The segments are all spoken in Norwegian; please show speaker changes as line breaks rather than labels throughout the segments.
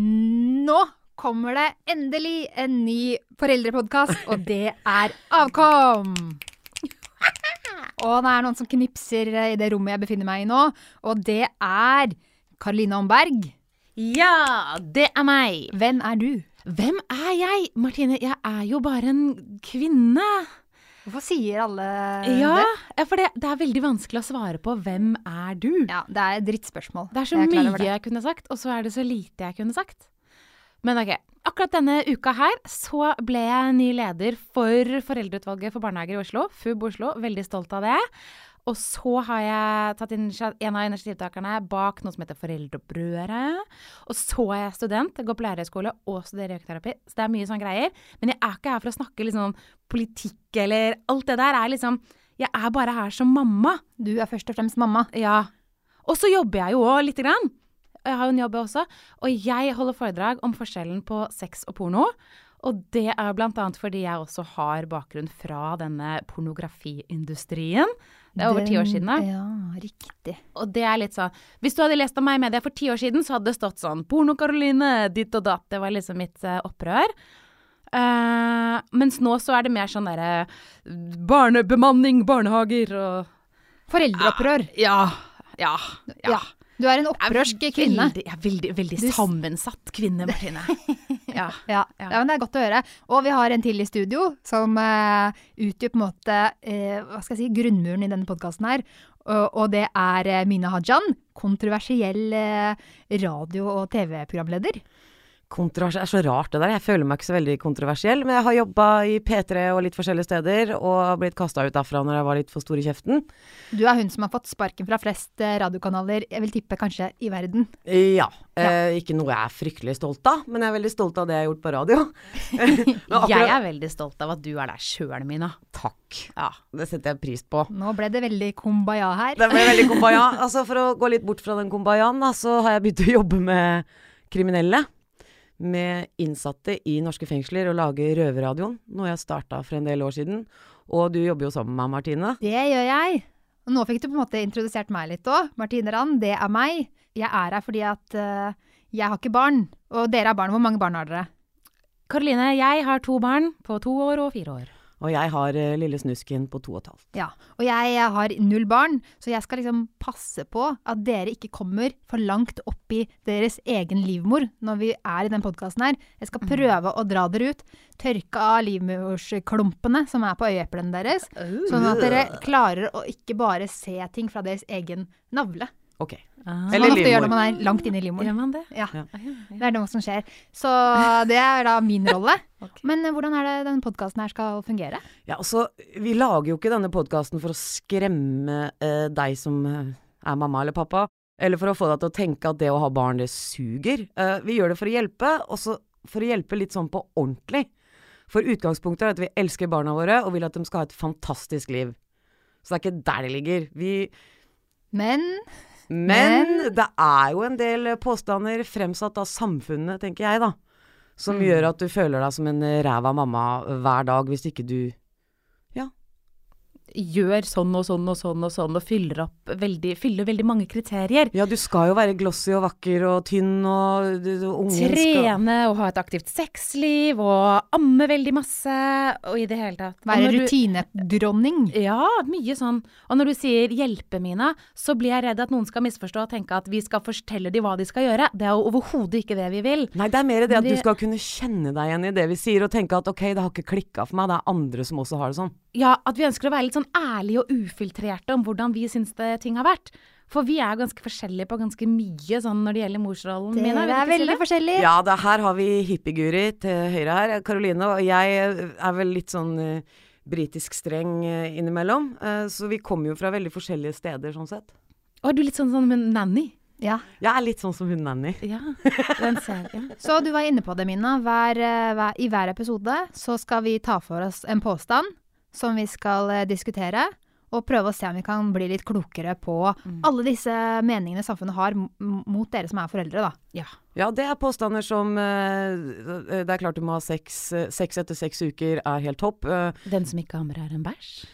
Nå kommer det endelig en ny foreldrepodkast, og det er Avkom! Og det er noen som knipser i det rommet jeg befinner meg i nå, og det er Karoline Omberg.
Ja, det er meg!
Hvem er du?
Hvem er jeg? Martine, jeg er jo bare en kvinne.
Hvorfor sier alle
Ja,
det?
ja, for det, det er veldig vanskelig å svare på hvem er du?
Ja, det er et drittspørsmål.
Det er så
Jeg klar over
mye jeg kunne sagt, og så er det så lite jeg kunne sagt. Men ok, akkurat denne uka her så ble jeg ny leder for Foreldreutvalget for barnehager i Oslo, FUB Oslo. Veldig stolt av det. Og så har jeg tatt initiativ, en av initiativtakerne bak noe som heter Foreldrebrødre. Og så er jeg student, jeg går på lærerhøyskole og studerer økoterapi. Så det er mye sånne greier. Men jeg er ikke her for å snakke liksom politikk eller alt det der. Er liksom, jeg er bare her som mamma.
Du er først og fremst mamma.
Ja. Og så jobber jeg jo òg lite grann. Jeg har jo en jobb jeg også. Og jeg holder foredrag om forskjellen på sex og porno. Og det er blant annet fordi jeg også har bakgrunn fra denne pornografiindustrien. Det er over ti år
Den-
siden, da.
Ja, riktig.
Og det er litt sånn Hvis du hadde lest om meg i media for ti år siden, så hadde det stått sånn Porno-Karoline, ditt og datt. Det var liksom mitt eh, opprør. Eh, mens nå så er det mer sånn derre Barnebemanning, barnehager og
Foreldreopprør.
Ja. Ja.
Ja.
ja.
Du er en opprørsk
Ah. Jeg er
kvinne.
Veldig, jeg er veldig, veldig
Du s-
sammensatt kvinne, Martine. ja.
Ja, ja.
Ja.
men det er godt å høre. Og vi har en til i studio som eh, utgjør på en måte eh, hva skal jeg si, grunnmuren i denne podkasten her. Og, og det er eh, Mina Hajan, kontroversiell eh, radio- og TV-programleder.
Kontrovers er så rart det der. Jeg føler meg ikke så veldig kontroversiell, men jeg har jobba i P3 og litt forskjellige steder, og har blitt kasta ut derfra når jeg var litt for stor i kjeften.
Du er hun som har fått sparken fra flest eh, radiokanaler, jeg vil tippe kanskje i verden.
Ja. Eh, ikke noe jeg er fryktelig stolt av, men jeg er veldig stolt av det jeg har gjort på radio. Men
Jeg
akkurat-
er veldig stolt av at du er der sjøl, Mina.
Takk.
Ja.
Det setter jeg pris på.
Nå ble det veldig kumbaya her.
Det ble veldig kumbaya. Altså, for å gå litt bort fra den kumbayaen, da, så har jeg begynt å jobbe med kriminelle. Med innsatte i norske fengsler og lage Røverradioen, noe jeg starta for en del år siden. Og du jobber jo sammen med meg, Martine.
Det gjør jeg. Og nå fikk du på en måte introdusert meg litt òg. Martine Rand, det er meg. Jeg er her fordi at eh, jeg har ikke barn. Og dere har barn. Hvor mange barn har dere?
Karoline, jeg har to barn på to år og fire år.
Og jeg har eh, lille snusken på to og et halvt.
Ja, og jeg har null barn, så jeg skal liksom passe på at dere ikke kommer for langt opp i deres egen livmor når vi er i den podkasten her. Jeg skal prøve å dra dere ut, tørke av livmorsklumpene som er på øyeeplene deres, sånn at dere klarer å ikke bare se ting fra deres egen navle.
Ok.
Ah.
Som
Eller
man ofte gjør
livmor.
når man er langt inne i livmoren.
Gjør man det? Ah,
Ja,
Ja.
det er noe som skjer. Så det er da min rolle. Men eh, hvordan er det denne podkasten her skal fungere?
Ja, altså, vi lager jo ikke denne podkasten for å skremme eh, deg som eh, er mamma eller pappa, eller for å få deg til å tenke at det å ha barn, det suger. Eh, vi gjør det for å hjelpe, og så for å hjelpe litt sånn på ordentlig. For utgangspunktet er at vi elsker barna våre og vil at de skal ha et fantastisk liv. Så det er ikke der det ligger. Vi,
Men
men,
Men-
det er jo en del påstander fremsatt av samfunnet, tenker jeg, da. Som gjør at du føler deg som en ræva mamma hver dag hvis ikke du
Gjør sånn og sånn og sånn og sånn, og fyller opp veldig, fyller veldig mange kriterier.
Ja, du skal jo være glossy og vakker og tynn og du, du, ungen Mm, skal
Trene og ha et aktivt sexliv og amme veldig masse og i det hele tatt. Og
være
når du-
rutinedronning.
Ja, mye sånn. Og når du sier 'hjelpe Mina', så blir jeg redd at noen skal misforstå og tenke at vi skal fortelle dem hva de skal gjøre. Det er jo overhodet ikke det vi vil.
Nei, det er mer det at du
Det-
skal kunne kjenne deg igjen i det vi sier, og tenke at ok, det har ikke klikka for meg, det er andre som også har det sånn.
Ja, at vi ønsker å være litt sånn ærlige og ufiltrerte om hvordan vi syns det ting har vært. For vi er jo ganske forskjellige på ganske mye sånn når det gjelder morsrollen. Mina,
Dere
vil du
er
ikke si
veldig
det?
forskjellige.
Ja, det her har vi hippieguri til høyre her, Karoline, og jeg er vel litt sånn eh, britisk streng eh, innimellom. eh, Så vi kommer jo fra veldig forskjellige steder, sånn sett.
Å, er du litt sånn som en nanny?
Ja.
Jeg er litt sånn som hun nanny.
Ja. Den ser jeg.
Så du var inne på det, Mina. Hver, eh, hver, I hver episode så skal vi ta for oss en påstand som vi skal eh, diskutere, og prøve å se om vi kan bli litt klokere på
Mm.
alle disse meningene samfunnet har m- m- mot dere som er foreldre, da.
Ja.
Ja, det er påstander som eh, Det er klart du må ha sex. eh, Sex etter seks uker er helt topp. eh,
Den som ikke ammer, er en bæsj.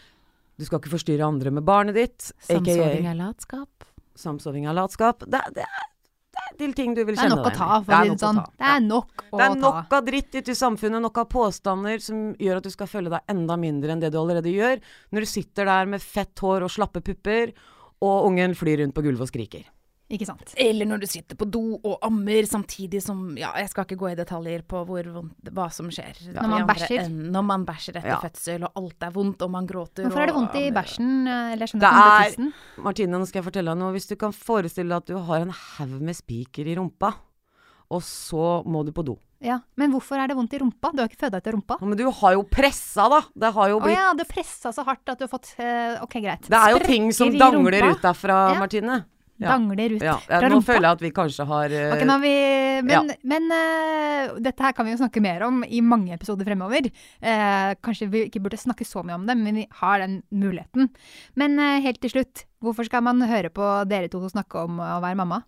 Du skal ikke forstyrre andre med barnet ditt. AKA
Samsoving er latskap.
samsoving av latskap. Det, det, er- det til ting du vil
Det er
kjenne
nok å
deg
ta,
igjen i.
for å si
nok
det sånn.
ta.
Det er nok å
Det er
ta.
nok av dritt ute i samfunnet, nok av påstander som gjør at du skal føle deg enda mindre enn det du allerede gjør, når du sitter der med fett hår og slappe pupper, og ungen flyr rundt på gulvet og skriker.
Ikke sant.
Eller når du sitter på do og ammer samtidig som Ja, jeg skal ikke gå i detaljer på hvor vondt, hva som skjer.
Når man
i andre
bæsjer.
enden, Når man bæsjer etter
Ja.
fødsel, og alt er vondt, og man gråter.
Hvorfor er det
og
vondt i
ammer.
bæsjen? eh, Eller skjønner
Det
ikke om det
er-
er tissen.
Martine, nå skal jeg fortelle deg noe. Hvis du kan forestille deg at du har en haug med spiker i rumpa, og så må du på do.
Ja. Men hvorfor er det vondt i rumpa? Du har ikke føda etter rumpa.
Men du har jo pressa, da! Det har jo
Å
blitt
ja, du pressa så hardt at du har fått eh, Ok, greit.
Det er jo ting som
sprekker i
dangler
rumpa.
ut derfra,
Ja.
Martine. Ja.
Dangler ut
Ja, ja,
fra
nå
rumpa.
føler jeg at vi kanskje har eh,
Ok, nå har vi,
ja.
men men eh, dette her kan vi jo snakke mer om i mange episoder fremover. Eh, kanskje vi ikke burde snakke så mye om det, men vi har den muligheten. Men eh, helt til slutt, hvorfor skal man høre på dere to snakke om å være mamma?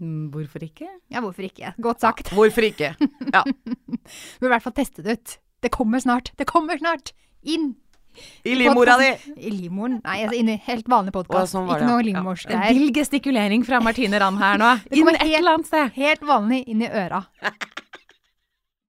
Mm, Hvorfor ikke?
Ja, hvorfor ikke? Godt sagt.
eh, Hvorfor ikke?
Burde i hvert fall teste det ut. Det kommer snart. Det kommer snart! Inn
I livmora di!
i livmoren. Nei, altså inn i helt vanlig
Å,
podkast.
sånn var
ikke
det, ja.
noe
Ja.
livmorsgreier.
Vill gestikulering fra Martine Rand her nå.
Det
Inn
kommer
et
helt-
eller annet sted.
Helt vanlig inn i øra.